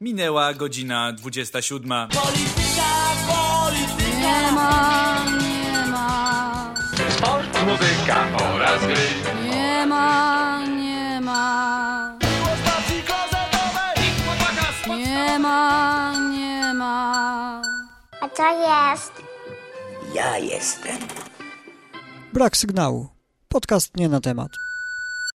Minęła godzina 27. Polityka, polityka, Nie ma, nie ma, muzyka oraz gry. nie ma, nie ma, głos partii klozetowej. nie ma, nie ma. A co jest? Brak sygnału. Podcast nie na temat.